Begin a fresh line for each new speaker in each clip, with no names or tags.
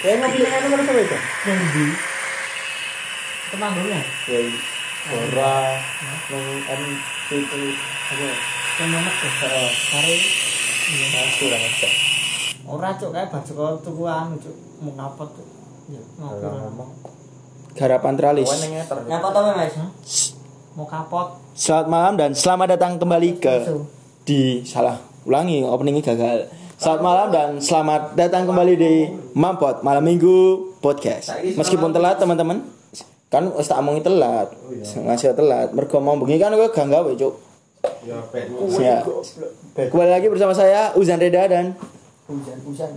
Saya mau pilih mana mana sama itu.
Nanti. Itu manggungnya.
Ya, Bora, yang M itu apa? ya?
Yang nomor tuh.
Heeh.
Kare. Iya.
Nah, kurang aja.
Ora cuk kae bar Joko tuku anu cuk mau ngapot cuk. Iya, ngopi
Kalau
ora.
ngomong,
Garapan Tralis.
kawan yang ngeter.
Nyapa to Mas?
Hah? Mau kapot.
Selamat malam dan selamat datang kembali ke di salah ulangi openingnya gagal. Selamat malam dan selamat datang kembali di Mampot Malam Minggu Podcast. Meskipun telat teman-teman, kan wis tak omongi telat. Ngasih telat, mergo mau bengi kan gue gak gawe, Cuk.
Ya, ben.
Ya. Kembali lagi bersama saya Uzan Reda dan
Hujan-hujan.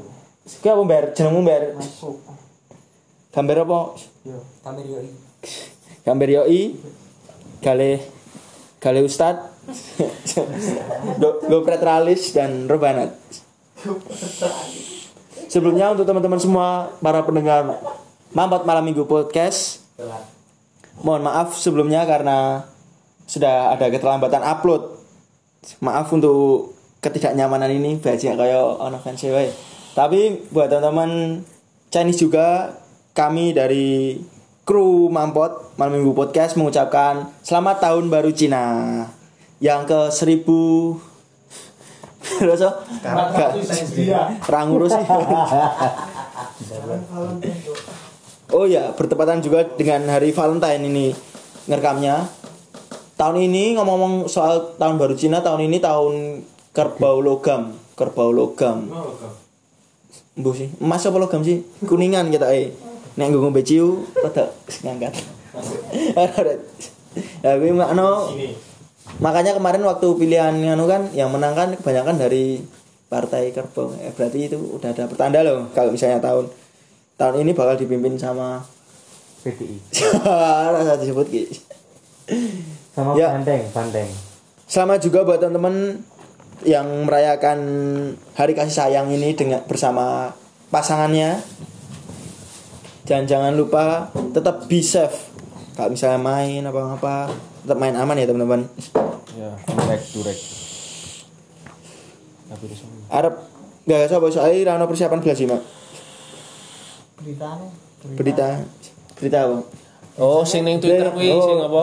Kau apa Ber? Jenengmu Ber?
Masuk.
Gambar apa?
Kamir yo.
Gambar Yoi Gale Gale Ustad Go Pretralis dan Rebanat Sebelumnya untuk teman-teman semua Para pendengar Mampot Malam Minggu Podcast
Telat.
Mohon maaf sebelumnya karena Sudah ada keterlambatan upload Maaf untuk ketidaknyamanan ini Bajak kayak ono fans e wae. Tapi buat teman-teman Chinese juga Kami dari kru Mampot Malam Minggu Podcast mengucapkan Selamat Tahun Baru Cina Yang ke seribu Rasa gak-
Iya.
ra ngurus sih. Oh ya, bertepatan juga dengan hari Valentine ini ngerekamnya. Tahun ini ngomong-ngomong soal tahun baru Cina, tahun ini tahun kerbau logam, kerbau logam.
Mau kok.
Mbuh sih, emas apa logam sih? Kuningan kita eh. Nek nggo ngombe ciu, rada ngangkat. Ya, kuwi makno
Sini.
Makanya kemarin waktu pilihan nganu kan yang menang kan kebanyakan dari partai kerbau. Eh, berarti itu udah ada pertanda loh kalau misalnya tahun tahun ini bakal dipimpin sama
PTI.
rasa disebut Ki.
Sama
Ya.
Banteng, Banteng.
Selamat juga buat teman-teman yang merayakan hari kasih sayang ini dengan bersama pasangannya. Dan jangan lupa tetap be safe. Kalau misalnya main apa-apa, tetap main aman ya teman-teman.
Ya, durek, durek. Tapi itu sama.
Arab gak sapa soalnya rano persiapan belas sih, Mak.
Beritane.
berita berita apa
Oh, sing ning Twitter
Dia-
kuwi
oh.
sing apa?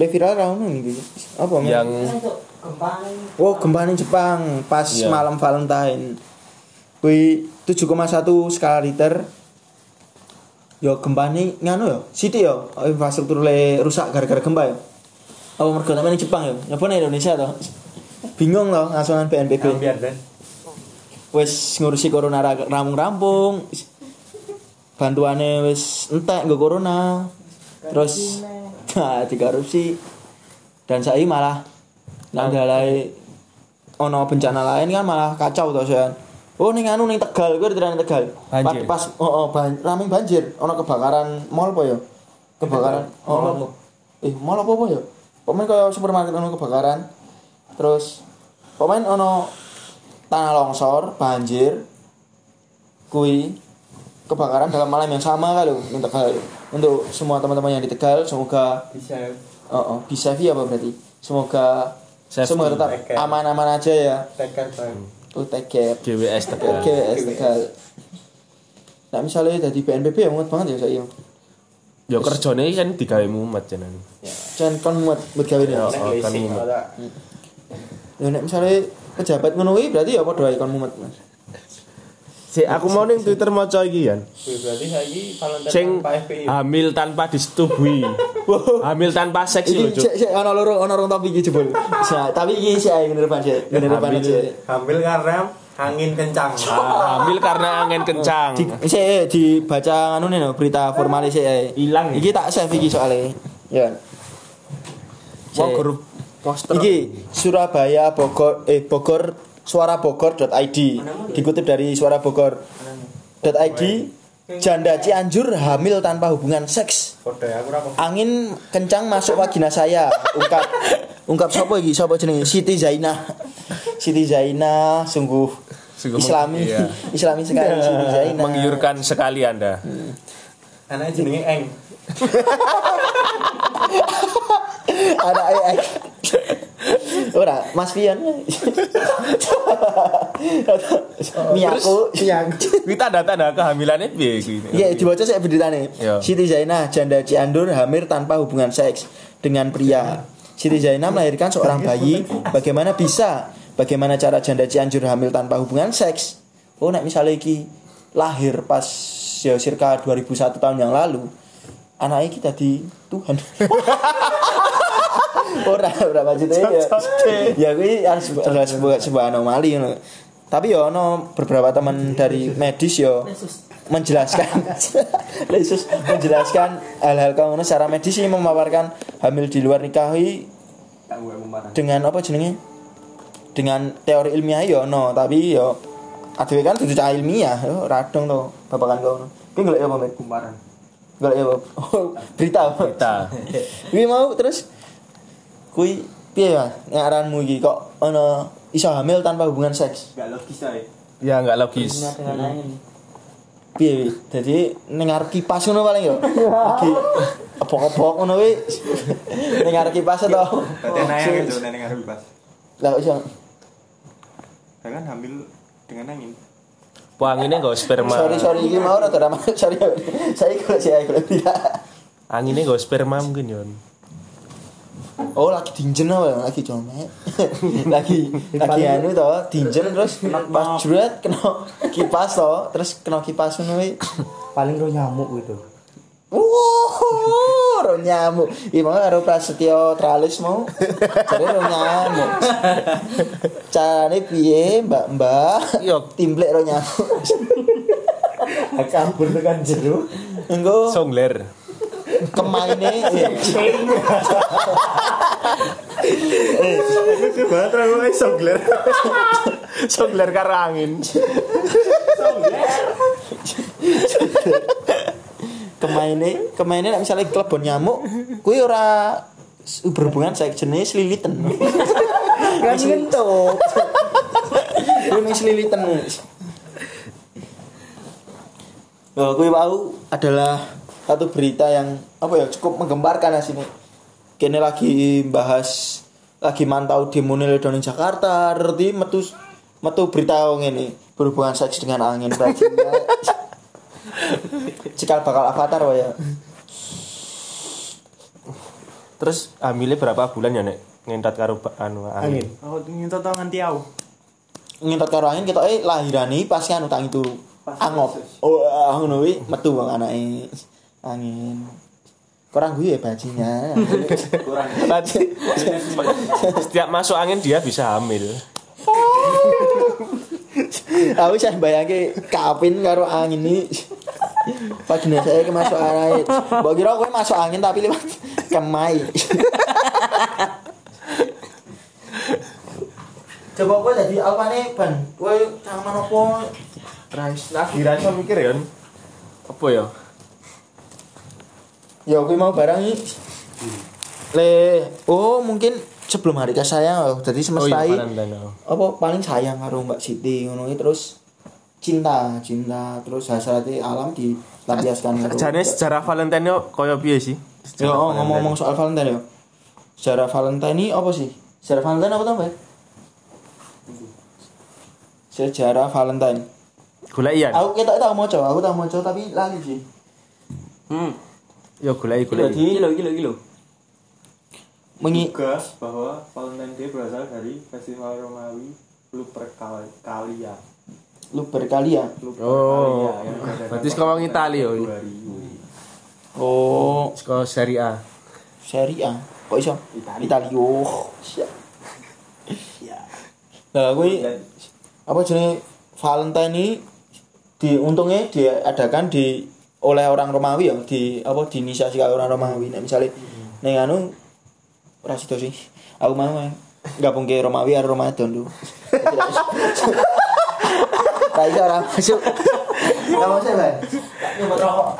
le viral ramen gitu apa men?
Yang
Untuk gempa nih.
oh gempa nih Jepang pas
Iya.
malam Valentine kui 7,1 skala Richter yo gempa nih nganu yo siti yo infrastruktur le rusak gara-gara gempa yo apa mergo sampe ning Jepang yo nyapa ning Indonesia toh bingung loh langsungan BNPB
Biar dan.
wis ngurusi corona ra- rampung-rampung bantuannya wis entek nggo corona terus nah dikorupsi dan saya malah nandalai ono bencana lain kan malah kacau to saya oh ning anu ning Tegal gue diterani Tegal Pas-
Banjir.
pas oh, oh ban, rame banjir ono kebakaran mall apa ya kebakaran oh, oh, oh. eh mall apa apa ya pemain kayak supermarket ono kebakaran terus pemain ono tanah longsor banjir kui kebakaran dalam malam yang sama kalau yang Tegal untuk semua teman-teman yang di Tegal semoga
Bisa.
Oh, oh. bisa via apa berarti? Semoga
Safety.
semoga tetap
Oke.
aman-aman aja ya.
Tekan baru.
UTG.
GWS Tegal.
Oke, Tegal. Nah, misalnya dari BNPB ya muat banget ya saya.
Yo kerjane kan digawe mumet jenenge.
Jangan kon muat buat gawe ini. Lah
Ya, oh, kan mumet.
nek misalnya pejabat ngono kuwi berarti ya padha ae kon muat, Mas.
Si aku mau ning Twitter maca iki kan.
Berarti lagi Valentine
Sing Ah.
tanpa FPI.
hamil tanpa disetubui. hamil tanpa seks lho,
Iki
Cuk.
sik sik ana loro ana rong topi iki jebul. Sa- tapi iki sik ae bener Pak sik. Bener Pak
Ambil.
sik.
Hamil karena angin kencang.
Ah, hamil karena angin kencang.
Di sik eh, dibaca anu nih no, berita formal sik ae.
Hilang ya?
Iki tak save iki soalnya. Ya.
Mau
Sik.
grup poster.
Iki Surabaya Bogor eh Bogor suarabogor.id dikutip dari suarabogor.id janda Cianjur hamil tanpa hubungan seks
Kode ya, aku ora kok.
angin kencang masuk vagina saya ungkap ungkap siapa iki siapa jenenge Siti Zainah Siti Zainah sungguh
Sungguh meng-
islami
iya.
islami sekali Siti Zainah
Menggiurkan sekali Anda.
Anak jenenge Eng.
anak eh eh. ora lah, Mas Pian. Miaku.
Kita tanda-tanda kehamilannya piye iki?
Ya, dibaca saya beritane.
Iya.
Siti Zainah janda Ciandur hamil tanpa hubungan seks dengan pria. Siti Zainah melahirkan seorang bayi. Bagaimana bisa? Bagaimana cara janda Cianjur hamil tanpa hubungan seks? Oh, nek misalnya iki lahir pas ya circa 2001 tahun yang lalu, anaknya iki tadi Tuhan. ora ora maksudnya ya ya gue harus harus buat sebuah anomali ngono. tapi ya ono beberapa teman dari medis ya. yo menjelaskan Lesus menjelaskan hal-hal kamu secara medis ini memaparkan hamil di luar nikahi dengan apa jenenge dengan teori ilmiah yo no tapi yo adewe kan tujuh cah ilmiah yo radong to babakan kono ki golek apa Mbak?
Kumparan.
golek apa Oh, berita
Kita.
Kuwi mau terus kuwi piye Mas? Ngaranmu iki kok ana iso hamil tanpa hubungan seks.
Gak logis coy.
Ya enggak logis.
Ingat dengan angin.
Piye? wi? Dadi ning arep kipas ngono paling yo. Iki obok-obok ngono kuwi. Ning arep kipas to.
Berarti
Oh,
nanya itu neneng harus bebas.
Lah kok iso
Saya kan hamil dengan angin.
Wanginya enggak sperma.
sorry sorry iki mau rada ramah. Sorry. Saya kalau saya kalau tidak.
Anginnya enggak sperma mungkin Yon.
Oh lagi dinjen apa lagi comet. lagi lagi anu to dinjen terus pas juret kena kipas to terus kena kipas ngono kuwi.
Paling roh nyamuk gitu.
Wuh, ro nyamuk. Iya mau karo Prasetyo Tralis mau. Jadi ro nyamuk. Carane piye, Mbak-mbak?
Yo.
timblek ro nyamuk.
Kabur tekan jeruk.
Engko
Songler.
kemaine. eh.
Itu banget terlalu guys songler.
Songler karo angin.
Kemaine, kemaine nek misale klebon nyamuk, kuwi ora s- berhubungan saya jenis lilitan.
Kan ngentuk.
Kuwi mesti lilitan. Nah, kuwi wau adalah satu berita yang apa ya cukup menggemparkan ya sini. Kene lagi bahas lagi mantau demo Ledono Jakarta, arti metu metu berita ini berhubungan seks dengan angin Bajingan. Cikal bakal avatar wae ya.
Terus hamilnya berapa bulan ya nek? Ngentat karo ba- anu angin.
Aku ingin tahu nganti aku.
ngintot karo angin kita eh lahirane pas kan utang itu angop oh ah, ngono kuwi metu bang anake angin kurang gue ya bajinya
Kurang.
Tadi setiap masuk angin dia bisa hamil.
aku saya bayangke kapin karo angin ini Pagina saya kemasuk angin Mbak kira gue masuk angin tapi lewat kemai Coba gue jadi apa nih ban Gue tangan apa
Rais lagi rais mikir ya. Apa ya?
Ya aku mau barang ini. Hmm. Le, oh mungkin sebelum hari ke saya, oh, jadi
iya,
semesta ini
oh.
apa paling sayang karo Mbak Siti ngono iki, terus cinta, cinta terus hasrati alam dilampiaskan karo-
Jane sejarah Valentine yo koyo piye sih?
Ya, oh, ngomong-ngomong soal Valentine ya. Sejarah Valentine ini apa sih? Sejarah Valentine apa tambah? Sejarah Valentine.
Golek iya? iyan.
Aku kita tahu mau coba, aku tahu mau coba tapi lali sih.
Hmm.
Yo golek iya.
Jadi
golek.
Kilo kilo kilo.
mengi
Tugas bahwa Valentine Day berasal dari Festival Romawi Lupercalia.
lu berkali ya.
Lupercalia.
Oh.
yang berada
Berarti
pada
sekarang
Valentine
Italia, oh.
Februari.
Oh,
Sekolah seri A.
seri A. Kok iso?
Italia.
Italio. Siap. Nah, kuwi
Dan-
apa jenis Valentine ini diuntungnya diadakan di oleh orang Romawi ya di apa diinisiasi oleh orang Romawi nah, misalnya ning anu ora sida sih aku mau eh. gabung ke Romawi karo Ramadan tuh Ra iso ora masuk Ra masuk Bay.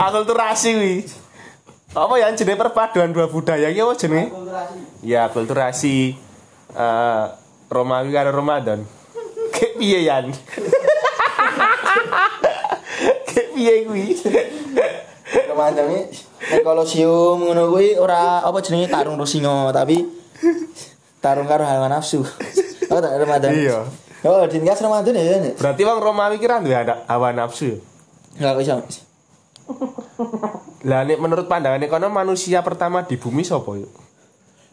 Akul tuh rasi wi. Apa ya jenis perpaduan dua budaya iki apa jenis? Ya kulturasi eh Romawi karo Ramadan. Kayak piye yan? Kayak piye kuwi?
Ramadan ini eh, nek Kolosium ngono kuwi ora apa jenenge tarung rusingo tapi tarung karo hawa nafsu. Oh, tak Ramadan.
Iya.
Oh, din kas Ramadan ya. Nek.
Berarti wong Romawi kira duwe ada hawa nafsu ya.
Enggak iso.
Lah nek menurut pandangan kono manusia pertama di bumi sapa yuk?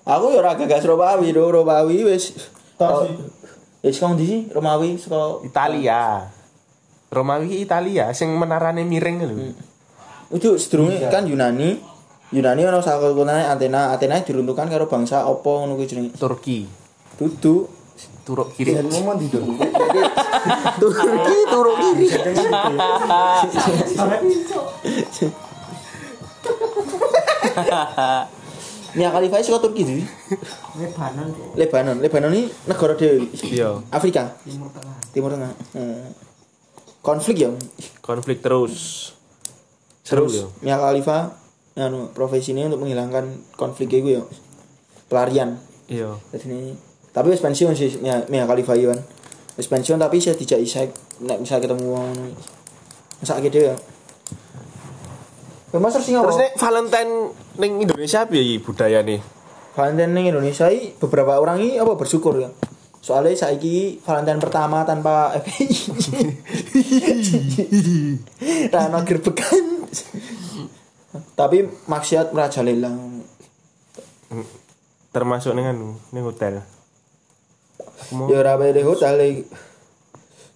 Aku ya ora gagas Romawi, do Romawi wis. Oh, Wis kong di Romawi saka
Italia. Romawi ki Italia sing menarane miring lho.
itu sedurunge kan Yunani. Yunani ono sakutane Athena, Athena diruntuhkan karo bangsa apa ngono kuwi jenenge.
Turki.
Dudu.
Turuk kiri.
mau tidur.
Turki, turuk kiri. Mia Khalifa saka Turki sih.
Lebanon
Lebanon, Lebanon ini negara dewi.
Iya,
Afrika,
Timur Tengah
Timur Tengah. Hmm. Konflik ya.
konflik terus. Seru
Terus
ya.
Mia Khalifa anu profesi ini untuk menghilangkan konflik itu ya. Pelarian.
Iya.
Jadi ini tapi wis pensiun sih Mia, Mia Khalifa Iwan. Wis pensiun tapi saya dijak isek nek bisa ketemu wong ngono. Masa gitu ya. Mas terus sing apa?
Terus nek Valentine ning Indonesia piye budaya nih?
Valentine ning Indonesia i, beberapa orang ini apa bersyukur ya. Soalnya saiki Valentine pertama tanpa FPI. Rano gerbekan. Tapi maksiat merajalela.
Termasuk ning anu, ning hotel. Aku mau
Ya ora pede hotel iki.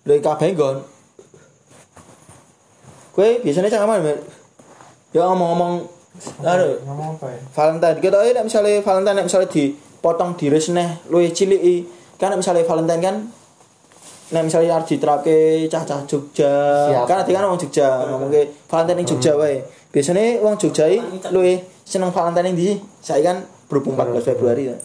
Lek kabeh nggon. Kowe biasanya cak aman, Mbak? Ya ngomong-ngomong Aduh,
Ngomong apa ya?
anu, Valentine kita ini misalnya Valentine nek misalnya dipotong di resneh luwih cilik i. kan nek misalnya Valentine kan nek misalnya harus diterapke cah-cah Jogja
Siap.
kan nanti kan orang Jogja ngomong ke Valentine yang Jogja wae biasanya orang Jogja i luwih seneng Valentine yang di saya kan berhubung 14 Februari ya.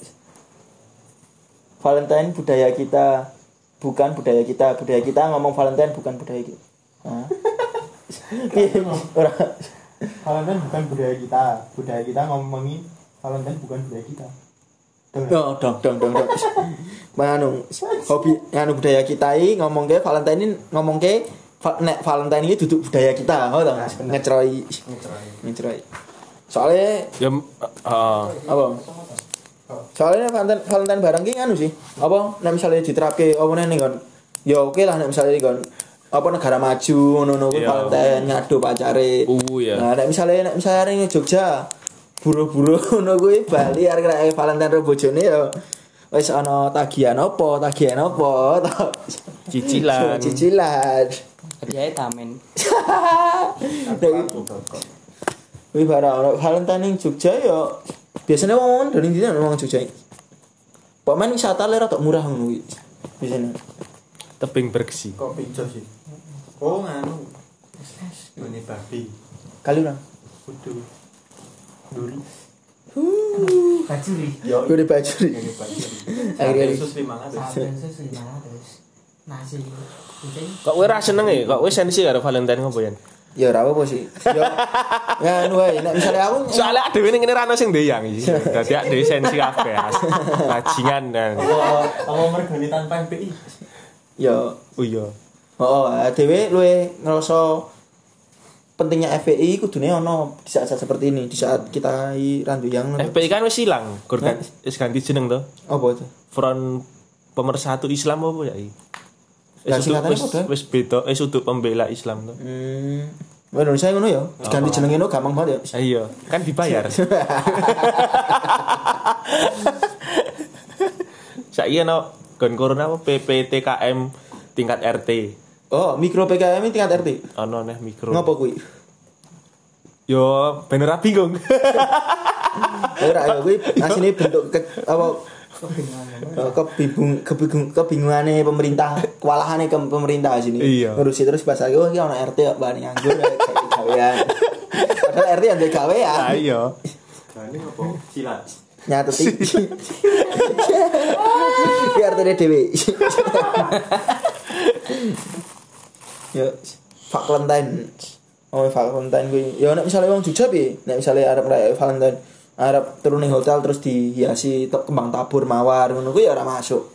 Valentine budaya kita bukan budaya kita budaya kita ngomong Valentine bukan budaya kita Hah? Piye? Ora.
Valentine bukan budaya kita budaya kita ngomongi Valentine bukan budaya kita
dong dong dong dong dong Manu, hobi anu budaya kita ini ngomong ke Valentine ini ngomong ke va- nek Valentine ini duduk budaya kita oh tau ngeceroi ngeceroi soalnya
ya heeh.
apa soalnya Valentine Valentine barang ini anu sih apa nek misalnya diterapke apa nih kan ya oke lah nek misalnya kan apa negara maju ngono-ngono kuwi
Iya.
Valentine ngadu pacare
Uh, iya.
nah nek misalnya nek misalnya ning Jogja buru-buru ngono kuwi Bali arek kena Valentine ro bojone ya wis ana tagihan apa tagihan apa tau.
Cicilan.
cicilan
kerjanya tamen
Dari- Wih bara orang Valentine ning Jogja yo. Biasanya wong wong dari dina wong Jogja. Pemain wisata lera tok murah ngono kuwi. Biasanya.
tebing bergesi.
kok pinjol sih oh nganu ini babi
Kali orang.
kudu duri
bajuri
yo
Gue dibajuri.
ini babi
Akhirnya-
Yesus lima ratus
saben susu lima terus nasi kucing
Kok kowe ra seneng ya? Kok kowe sensi karo Valentine ngopo ya?
Ya ora apa-apa sih. Yo. Ya anu wae nek misale aku
Soalnya dhewe ning kene ra ono sing ndeyang iki. Dadi ak dhewe sensi kabeh. as. Bajingan dan.
kalau mergoni tanpa MPI
yo
Oh iya.
heeh dhewe luwe ngerasa pentingnya FPI kudune ono di saat-saat seperti ini, di saat kita i- randu yang
FPI kan wis ilang, gur kan- wis ganti jeneng to.
apa itu?
Front Pemersatu Islam apa ya iki?
Lah,
Wis untuk
singkatannya
wis
apa, Dan?
wis beda, wis untuk pembela Islam to.
Hmm. Wah, Indonesia ngono ya. Ganti jenenge ngono gampang banget ya.
Ah, Iya, kan dibayar. Saiki ono gon corona apa PPTKM tingkat RT.
Oh, mikro PKM ini tingkat RT.
Ono neh mikro.
Ngopo kuwi?
Yo, bener ra bingung.
Ora ya kuwi asline bentuk ke, apa Eh, kebingung kebingung kebingungane pemerintah, kewalahane ke pemerintah sini.
Iya.
Ngurusi terus bahasa oh iki ana RT kok bani nganggur kayak gawean. Padahal RT yang gawean.
Ah iya.
ini apa silat
nyateti iki artine dhewe yo fak Valentine oh fak Valentine kuwi yo nek misale wong Jogja piye nek misale arep ngerayain Valentine arep turu ning hotel terus dihiasi te- kembang tabur mawar ngono kuwi ya ora masuk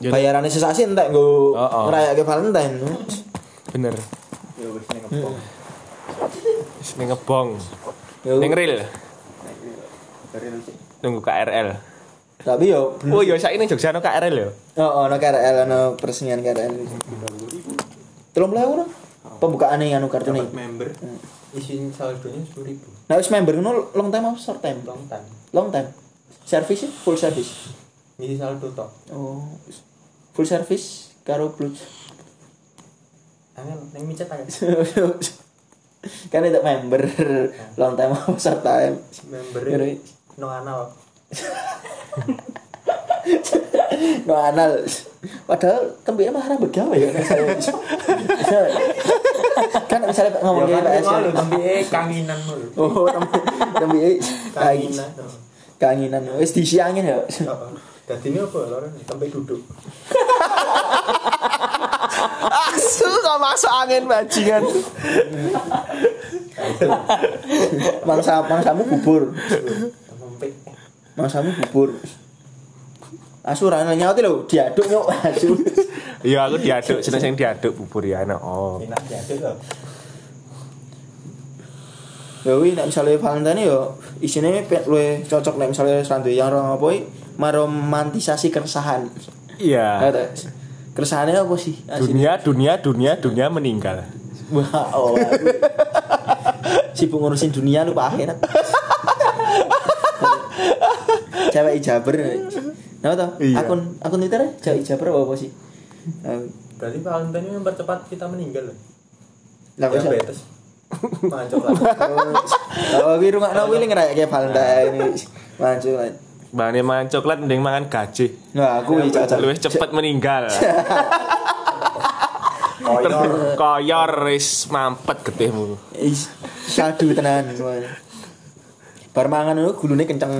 Yo,
bayarannya sesasi entek nggo
Oh, oh.
ngrayake Valentine
Bener.
ya wis ning ngepong
Wis Ning ngebong.
yo
Ning real.
dari
Tunggu KRL.
Tapi yo belum.
Oh iya saiki ning Jogja ono KRL ya.
Oh, ono KRL ono peresmian KRL. Telung puluh euro. Pembukaan yang anu kartu nih.
member
Isin saldonya sepuluh ribu.
Nah, wis member ngono long time apa short time?
Long time.
Long time. Service full service.
Ngisi saldo tok.
Oh. Full service karo blue.
Angel ning micet aja.
kan itu member long time apa short time.
Member
Ngeri.
no anal.
No anal. Padahal tempatnya mah haram begawe ya. nek saya. kan misalnya ngomong
Ya kan
kayak PS ya.
malu tapi eh kanginan mulu.
Oh, tembi tembi
Kanginan.
kangenan. Wis diisi angin ya.
Heeh. Dadi ini apa lho sampai duduk.
Asu kok masuk angin bajingan.
Mangsa mangsamu kubur.
Sampai
Mangsamu kubur. Asu ra nyaut lho, diaduk nyok asu.
Iya aku diaduk, jenis yang diaduk bubur ya enak. Oh.
enak ya lho.
Lha wi Ya nek misale Valentine yo isine pe- luwe cocok nek misale sanduy yang ora apa iki meromantisasi keresahan.
Iya.
Ada. Keresahannya apa sih? Asine.
Dunia, dunia, dunia, dunia meninggal.
Wah, oh, aku sibuk ngurusin dunia lupa akhirat. Cewek ijaber. Napa toh?
Iya.
Akun akun Twitter cewek ijaber apa, apa sih? Eh,
Berarti Valentine ini mempercepat kita meninggal Ya, lho.
Lah kok iso-
Diabetes. Makan coklat.
Oh, kuwi rungokno kuwi ning kayak Valentine. Maju lan.
Bahannya makan coklat mending makan gaji.
Nah, aku iki cocok.
Luwih cepet meninggal.
Oh,
Koyor, koyor wis mampet getihmu.
Is- Sadu tenan. Wah. Bar mangan itu gulune kenceng.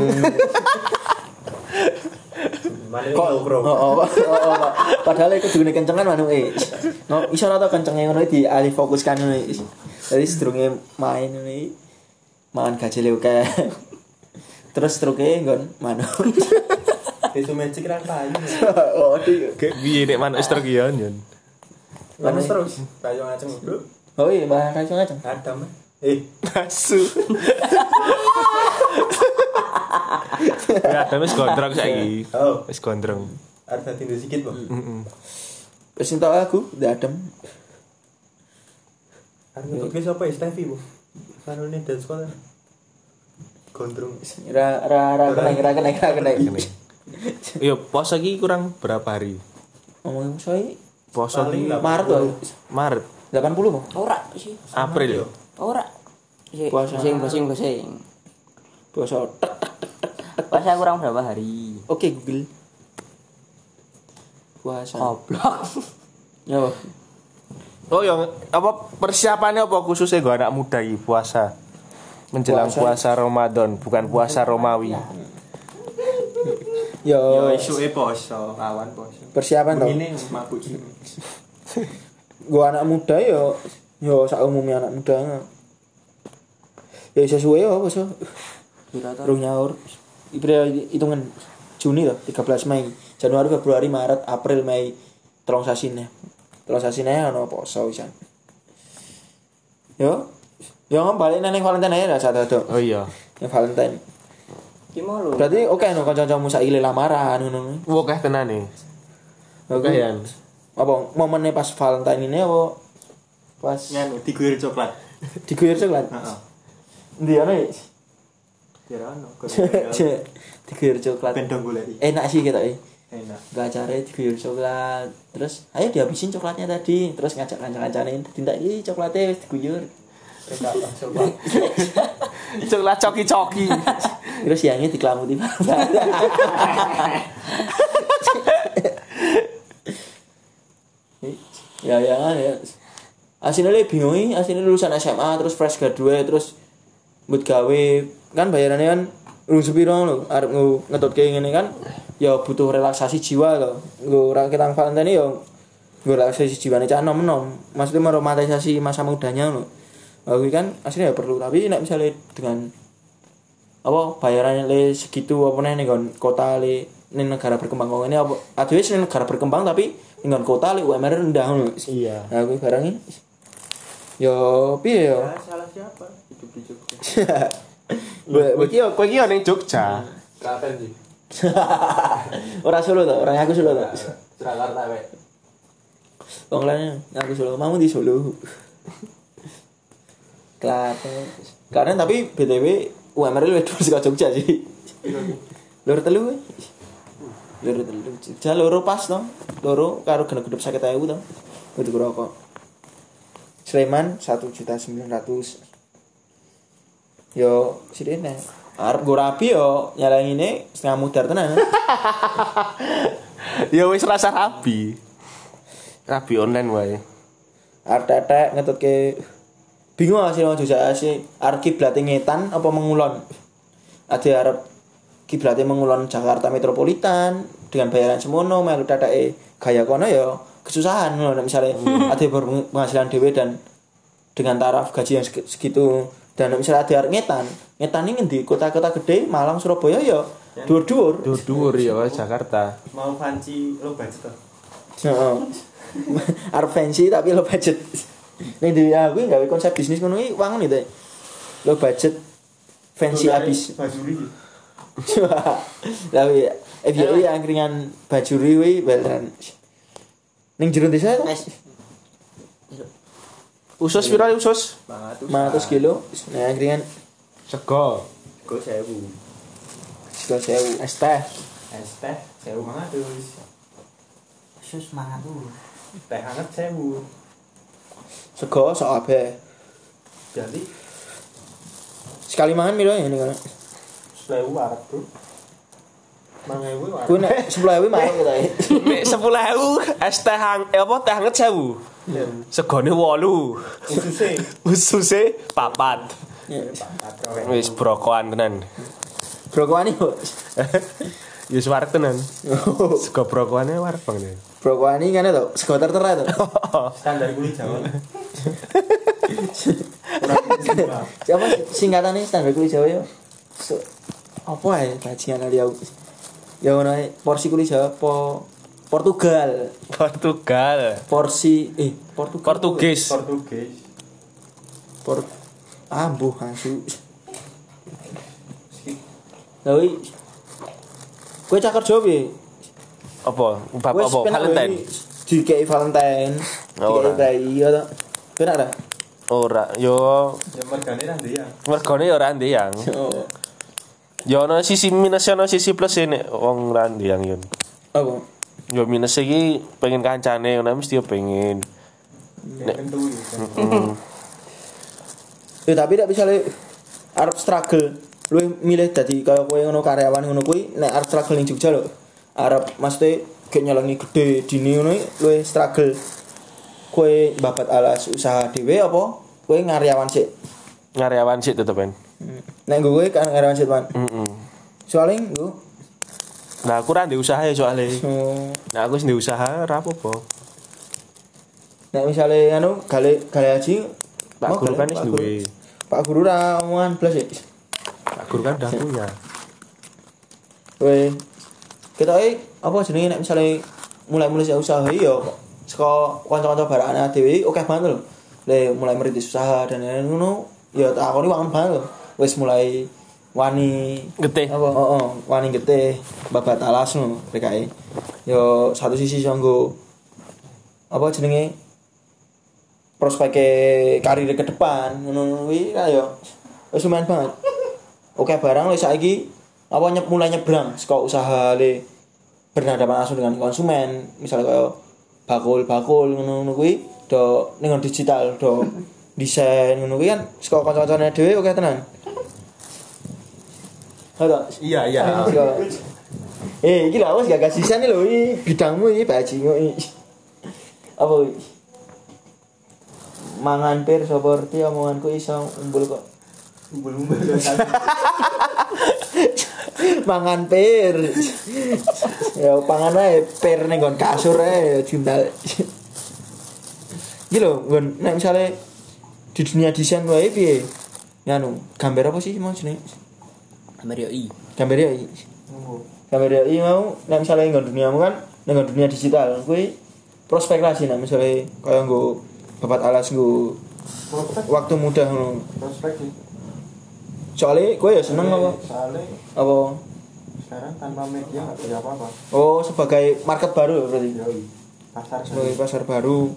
Mana kok
Oh, oh, oh, oh, oh. Padahal itu gulune kenceng kan manuke. No, iso ora tau kencenge ngono iki dialih fokuskan ngono iki. Jadi sedurunge main ngono iki mangan gajele oke. Terus truke nggon manuk.
Tisu magic kan payu.
Oh, di.
Kayak biye nek manuk stergion yon.
Lalu terus kayu ngaceng bro.
Oh iya, bahan racun aja.
Ada mah. Eh,
Asu. Ya, tapi wis gondrong saiki.
oh,
Wis gondrong.
ada tindu sedikit, Bang.
Hmm.
Wis entuk aku, dadem.
Arno Tugis apa ya Steffi bu? Kanu ini dance sekolah Gondrong
Ra ra ra kena ra kena ra kena.
Yo, pos iki kurang berapa hari?
Ngomong soi
Pos
Paling
iki
lah.
Maret oh, to.
Maret,
80 kok.
Ora sih.
April.
Ora. Sik,
Puasa.
Sing sing sing.
Bosok tek.
Puasa kurang berapa hari?
Oke Google. Puasa.
Goblok.
Yo.
Oh, yang apa persiapannya apa khususnya gue anak muda iki puasa. Menjelang puasa, Ramadan, bukan puasa Romawi.
Yo.
yo isu e poso awan poso
Persiapan to.
ini mabuk sini
Gua anak muda yo yo sak umumnya anak muda. Ya iso suwe yo bosok. Rung nyaur. Ibra hitungan Juni to 13 Mei. Januari, Februari, Maret, April, Mei. Telung sasine. Telung sasine ono poso pisan. Yo. Yo balik nang Valentine ae ra satu-satu.
Oh iya.
Yang Valentine.
Ki mau lho.
Berarti oke no kanca-kancamu saiki le lamaran ngono.
Wah, kayak tenan nih.
Oke
Yan.
Apa momennya pas Valentine ini apa pas
Ya,
nganu diguyur coklat
diguyur coklat?
heeh
Ndi ana ya?
kira ono
Cek, diguyur coklat.
bendong golek
Enak sih kita ini.
enak
Gak cari diguyur coklat. Terus ayo dihabisin coklatnya tadi. Terus ngajak kanca-kancanin. Tindak ini coklatnya wis diguyur.
Kita langsung Bang.
Coklat coki-coki.
Terus siangnya dikelamuti ya ya kan ya aslinya lebih bingung ini, aslinya lulusan SMA terus fresh graduate terus buat gawe kan bayarannya kan lu sepiro lo arep ngu- ngetut kayak gini kan ya butuh relaksasi jiwa lo gue orang kita Valentine ya gue relaksasi jiwa nih nom nom maksudnya meromantisasi masa mudanya lo Aku kan aslinya ya perlu tapi nek misalnya dengan apa bayarannya le segitu apa nih nggon kota le ning negara berkembang kok ini apa aduh ini negara berkembang tapi nggon kota le UMR e rendah ngono iya nah kuwi barang ini yo piye yo
Ah, salah siapa hidup di Jogja
Buat-
Kowe iki yo ning Jogja.
Klaten sih
Orang Solo tuh, orang aku Solo tuh.
Surakarta wek.
Wong lain aku Solo, mau di Solo. Klaten. Karena tapi BTW UMR lu itu saka Jogja sih. Lur telu. weh. Lur telu Jogja loro pas to. Loro karo genep-genep 50.000 to. Untuk rokok. Sleman 1.900.000. Yo, sirene. Arep go rapi yo nyalain ini setengah mudar tenan.
ya wis rasa rabi. Rabi online wae.
Arep tetek ngetut ke bingung lah sih orang Jogja ah sih arep kiblate ngetan apa mengulon ada arep kiblate mengulon Jakarta metropolitan dengan bayaran semono melu teteke gaya kono ya kesusahan ngono Nek misalnya ada baru penghasilan dhewe dan dengan taraf gaji yang segi- segitu dan nek misalnya ada arep ngetan ngetan ini di kota-kota gede Malang Surabaya ya dur-dur
Dudur ya Jakarta.
Mau panci lo budget toh.
Heeh. Oh. Arep fancy tapi lo budget. Ning dhewe aku gawe konsep bisnis ngono iki wangun itu. Lo budget fancy abis. iya.
Bajuri.
Tapi FYI Eh, angkringan bajuri kuwi beneran. Ning jero desa itu
Guys,
Usus piro usus?
Ah,
500
gitu.
kilo nah angkringan
Sego.
Go sewu.
2000. Es teh.
Es teh sewu mangatus.
Sus mangan tuh.
Teh hangat sewu.
Sego sok abe.
Jadi
Sekali mangan piro ya ini kalau.
sewu arep bro. Mangewu arep.
Kuwi nek 10.000 mah kita. ya.
Nek 10.000 es teh hang eh, apa teh hangat 1000. Segone 8.
Ususe.
Ususe papat.
Ya.
Wis brokoan tenan.
Brokoan iki. Bos.
Ya warek tenan. Sego brokokane warek banget.
Brokoan iki ngene to, sego tertera to.
Standar kulit Jawa.
Siapa singkatannya standar kulit Jawa ya? So, apa ya bajingan kali aku? Ya ngono ae, porsi kulit Jawa po Portugal,
Portugal.
porsi eh Portugal.
Portugis.
Portugis.
Por Ambuh asu. Lawi. Kowe cakar Jawa piye?
Apa? Bab
Wes,
apa?
penak
Valentine.
wae. Dikei Valentine.
Oh,
Dikei
ora.
Rai ya ta. Penak ra?
Ora, yo
Ya mergane ra ndek ya.
mergone yo ora ndeyang.
Oh.
Yo ono sisi minus ono sisi plus ini wong ora ndeyang yo.
Apa?
Yo minus iki pengen kancane ngono mesti yo pengen.
Nek tentu ya.
Ya Eh, tapi tidak bisa le arep struggle. Lu milih dadi kaya kowe ngono karyawan ngono kuwi nek arep struggle ning Jogja lho. Arep maksudnya gek nyolongi gede dini ngono lu struggle. Kowe babat alas usaha dhewe apa kowe ngaryawan sik.
Ngaryawan sih tetep kan.
Nek nggo kowe kan ngaryawan sik, Pan.
Heeh.
Soale nggo
Nah, aku ora ndek usaha ya soalnya.
so,
Nah, aku sendiri usaha ora apa-apa.
nek misale anu gale gale aji
Pak
mau
guru
gale,
kan wis
Pak Guru.
duwe.
Pak guru ra omongan blas ya.
Pak guru kan udah punya.
Weh. Kita eh apa jenenge nek misale mulai-mulai sik usaha ya saka kanca-kanca barakane dhewe oke banget lho. Le mulai merintis usaha dan lain-lain ngono ya tak akoni wangun banget lho. Wis mulai wani
Getih.
apa heeh wani getih babat alas ngono PKI. Yo satu sisi iso nggo apa jenenge prospek karir ke depan ngono kuwi ra yo wis lumayan banget. Oke barang le saiki apa nyep, mulai nyebrang saka usaha le berhadapan langsung dengan konsumen misalnya kayak bakul bakul ngono ngono kuwi do dengan digital do desain ngono kuwi kan saka kanca-kancane dhewe oke tenan. Halo.
Iya, iya.
Eh, iki lho wis gak kasihan lho iki bidangmu iki bajingo iki. Apa iki? Mangan pir seperti omonganku iso umbul kok.
Umbul-umbul ya, kan.
Mangan pir. ya pangan ae pir ning nggon kasur ae cinta. Iki lho nggon nek misale di dunia desain wae piye? Nganu, gambar apa sih mau jenenge?
gambar yo i.
gambar ya i. gambar ya i mau nek misalnya nggak dunia mu kan nggak dunia digital kui prospek lah sih nek misalnya kaya nggo babat alas nggo
Prospek,
waktu muda ngono
prospek sih. Iya,
soalnya kue ya seneng apa
Soalnya
apa
sekarang tanpa media nggak bisa apa-apa
Oh, sebagai market baru ya berarti.
Yoi. pasar
Sebagai pasar baru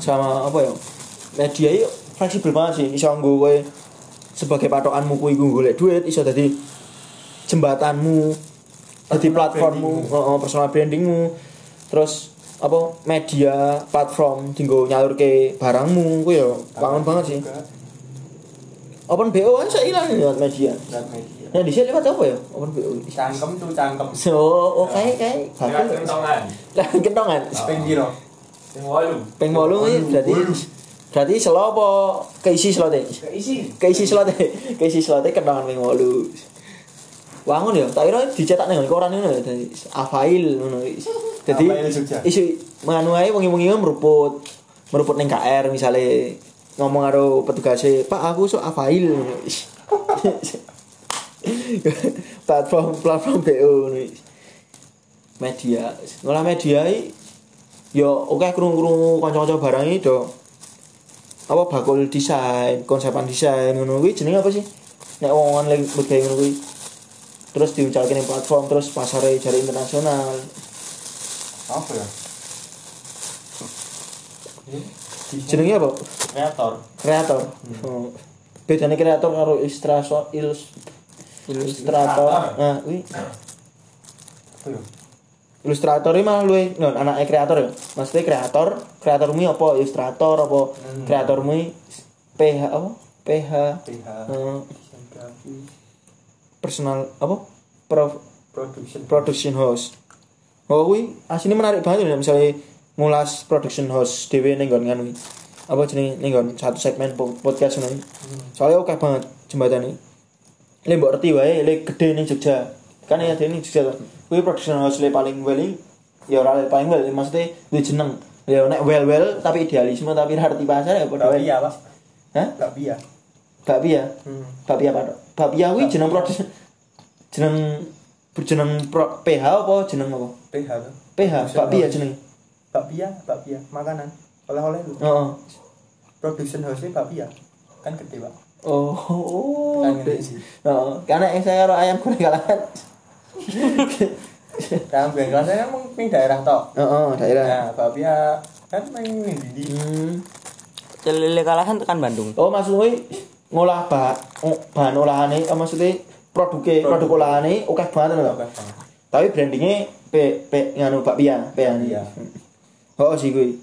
sama apa ya? Media itu fleksibel banget sih. Iso nggo kowe sebagai patokanmu kuwi nggo golek duit, iso dadi jembatanmu, dadi platformmu, oh, oh, personal brandingmu. Terus apa media platform tinggal nyalur ke barangmu kuwi ya bangun banget sih open BO kan saya hilang lewat media
dan media
nah di sini lewat apa ya open BO
cangkem tuh cangkem
so oke kayak kayak
ya.
kentongan kentongan
penggiro
peng wolu ini berarti berarti selo apa keisi slote
keisi
keisi slote keisi slote kentongan peng wolu wangun ya tak kira dicetak nih koran ini ya dari afail ngono jadi
Afail Jogja.
isu manuai wengi-wengi meruput meruput neng KR misalnya ngomong karo petugasnya pak aku so afail ngono. platform platform BO ngono. media ngolah media i, yo oke krungu-krungu kanca-kanca barang iki do apa bakul desain konsepan desain ngono kuwi jenenge apa sih nek wong-wong lagi budaya ngono kuwi terus diucalkan di platform terus pasarnya cari internasional
apa ya
jenenge apa
kreator
kreator oh. bedanya kreator karo ilustrator ilus ilustrator nah kuwi
apa ya
ilustrator ini malah luwe non anaknya kreator ya maksudnya kreator kreatormu ini apa ilustrator apa kreatormu ini PH apa PH
PH
eh,
desain grafis
personal apa Pro-
production
production house oh kuwi aslinya menarik banget ya misalnya ngulas production house dhewe ning nggon kan kuwi. apa jenenge ning nggon satu segmen po- podcast ngono kuwi. soalnya oke banget jembatan ini le mbok reti wae le gede ning Jogja kan ya dene ning Jogja kan kuwi production house le paling well ini, ya ora le paling well maksudnya duwe jeneng ya nek well well tapi idealisme tapi ra arti pasar ya padha wae
iya pak
hah
nggak biar
bakpia bakpia apa Dok? bakpia kuwi jeneng produs jeneng berjeneng pro, PH apa jeneng apa
PH tuh
PH bakpia ah, jeneng
bakpia bakpia makanan oleh-oleh lu
heeh
production house nya bakpia kan gede pak
oh oh
Kan ngene
dek.
sih.
Heeh. karena yang saya karo ayam goreng kalangan
Dalam bengkel saya kan mungkin daerah toh.
heeh daerah
Nah, Babia kan main di
hmm.
Lele kalahan tekan Bandung.
oh maksud kuwi ngolah bah oh, bahan olahane eh, maksudnya produknya produk, olahane oke banget lho
Oke.
tapi brandingnya P P nganu bakpia PH
Bakpia.
oh sih kuwi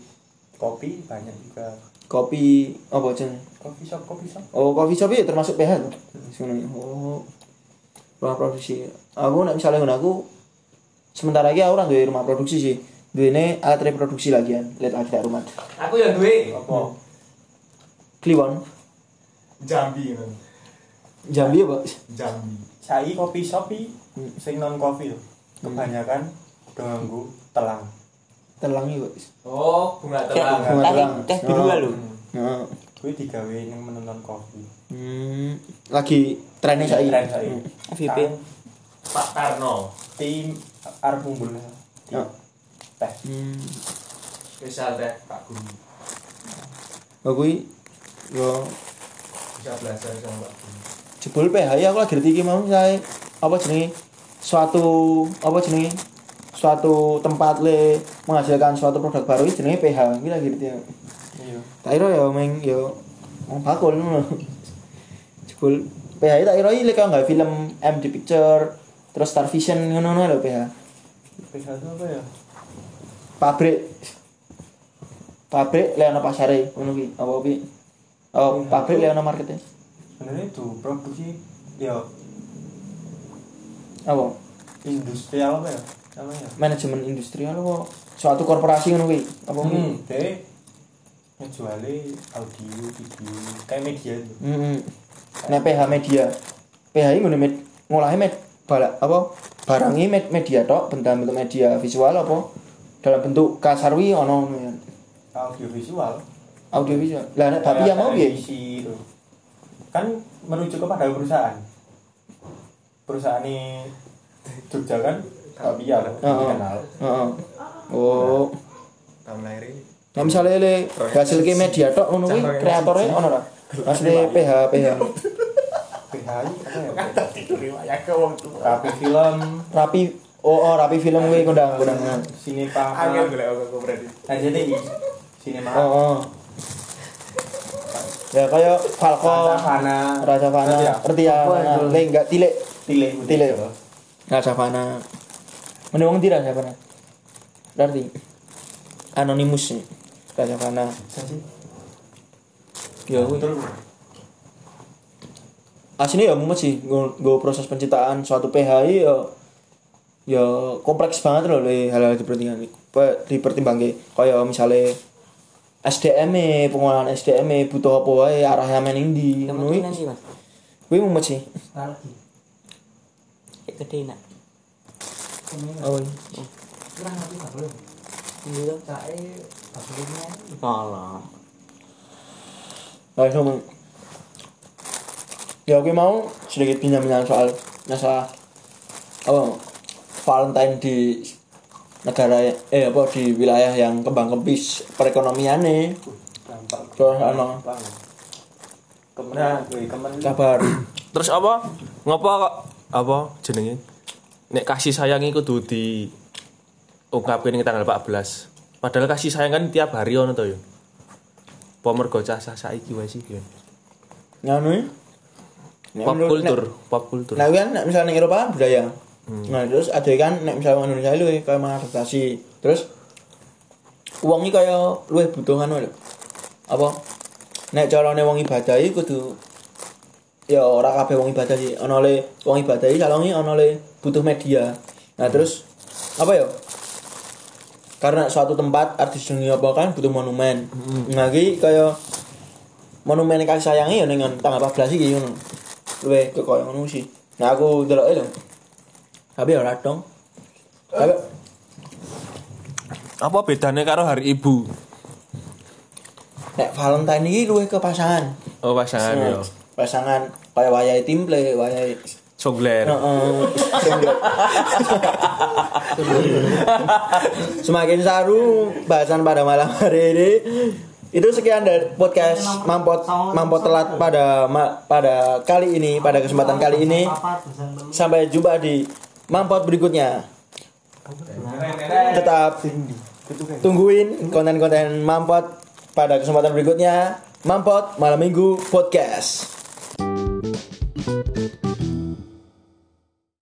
kopi banyak juga.
kopi apa jeneng
Kopi shop, kopi shop.
Oh, coffee shop ya termasuk PH tuh. Sini. Oh. Rumah produksi. Aku nek misalnya ngono aku sementara iki aku ora duwe rumah produksi sih. Duwene alat reproduksi lagian, lihat lagi tak rumah.
Aku yang duwe
Apa?
Kliwon.
Jambi kan.
Jambi apa?
Jambi.
Saya kopi shop i, sing non kopi loh. Kebanyakan ganggu telang.
Telang iki, Pak.
Oh, bunga
Teh,
Bunga
teh,
telang.
teh biru
Oh.
lah lu.
Nah,
Gue digawe yang menonton kopi.
hmm, lagi trennya saiki. Hmm.
Keren saya.
FVP.
Tang,
Pak Tarno.
Tim arep mumbul. Tim.
Ya.
Teh.
Hmm.
Spesial teh Pak Guru.
Aku kuwi yo
Bisa belajar sama Pak Guru.
jebul PH ya aku lagi ngerti iki mau saya apa jenenge suatu apa jenenge suatu tempat le menghasilkan suatu produk baru ini jenenge PH ini lagi ngerti aku.
Iya.
tak kira ya meng yo mau bakul ngono. jebul PH ini tak kira ini kan nggak film MD Picture terus Star Vision ngono ngono lho PH
Pesa itu apa ya?
pabrik pabrik Leono Pasare ngono ki apa ki oh pabrik Leono Marketnya
Sebenarnya itu produksi ya
apa
industrial apa ya? Namanya.
manajemen industrial apa suatu korporasi ngono kuwi apa kuwi
Hmm, deh ngejualnya audio, video, kayak media itu.
heeh nek PH Nah, media PH iki ngene med ngolahe med bala apa barang iki med media tok bentuk bentuk media visual apa dalam bentuk kasar wi ono ngono ya.
Audio visual.
audio visual lah nek tapi ya mau piye
Televisi itu. Kan menuju kepada perusahaan. Perusahaan ini Jogja kan tapi ya
Heeh.
dikenal.
heeh oh
Tahun lahir
Nah misalnya le hasil ke media tok ngono kuwi kreatore ono ra? Asli PH PH.
BHI apa ya?
Kan tidur riwayat ke wong tua.
Rapi film,
Rapi oh, oh rapi film kuwi kondang kondangan.
Sinepa,
Angel golek aku berarti.
nah,
NCTI, Sinema,
Oh, oh. Ya kaya Falco,
Savana, Ngerti ya?
Rajavana, Retia, Leng enggak tilik,
Tile,
tilik. Rajavana. Mene wong ndi Rajavana? Berarti anonimus nih. Rajavana. Ya kuwi.
Betul.
aslinya ya mumet sih gue proses penciptaan suatu PHI ya ya kompleks banget loh le hal-hal dipertimbangkan dipertimbangkan kayak misalnya SDM -e, pengolahan SDM -e, butuh apa wae arahnya main di
Kemungkinan sih mas.
gue mumet sih
Nostalgia.
Kayak gede nak.
Ini
oh, iya.
kurang ngerti gak belum.
Gitu.
Cai gak belum nyanyi.
Alah.
Nah, itu mau- Ya oke mau sedikit pinjam-pinjam soal masalah apa Valentine di negara eh apa di wilayah yang kembang kempis perekonomiannya. Terus ano
Kemenan, weh, kemen.
kabar
Terus apa? Ngopo kok apa jenenge? Nek kasih sayang iku kudu di ungkapke ning tanggal 14. Padahal kasih sayang kan tiap hari ono to yo. Apa mergo cacah saiki wae sih yo.
nganu ya.
Pop
Menurut-
kultur, pop kultur.
Nah, kan nek misalnya Eropa kan budaya. Nah, terus ada kan nek misalnya orang Indonesia lu kayak mengadaptasi. Terus uangnya kayak lu butuh anu lho. Apa? Nek carane wong ibadah iki kudu ya ora kabeh wong ibadah sih. Ana le wong ibadah iki salongi ana le butuh media. Nah, terus apa ya? Karena suatu tempat artis dunia apa kan butuh monumen. Nah, iki kayak monumen kasih sayangnya ya ning tanggal 14 iki ngono. Luwe kekoyo ngono sih. Nah aku delok lho. Tapi ora dong. Tapi
Apa bedanya karo hari ibu?
nek Valentine iki luwe ke pasangan.
Oh pasangan yo.
Pasangan kaya wayahe timple, wayahe
Songler.
Heeh. Semakin saru bahasan pada malam hari ini. Itu sekian dari podcast Mampot Mampot Telat pada ma- pada kali ini, pada kesempatan kali ini.
Papat, pesan belum.
Sampai jumpa di Mampot berikutnya. Tetap tungguin konten-konten Mampot pada kesempatan berikutnya. Mampot malam minggu podcast.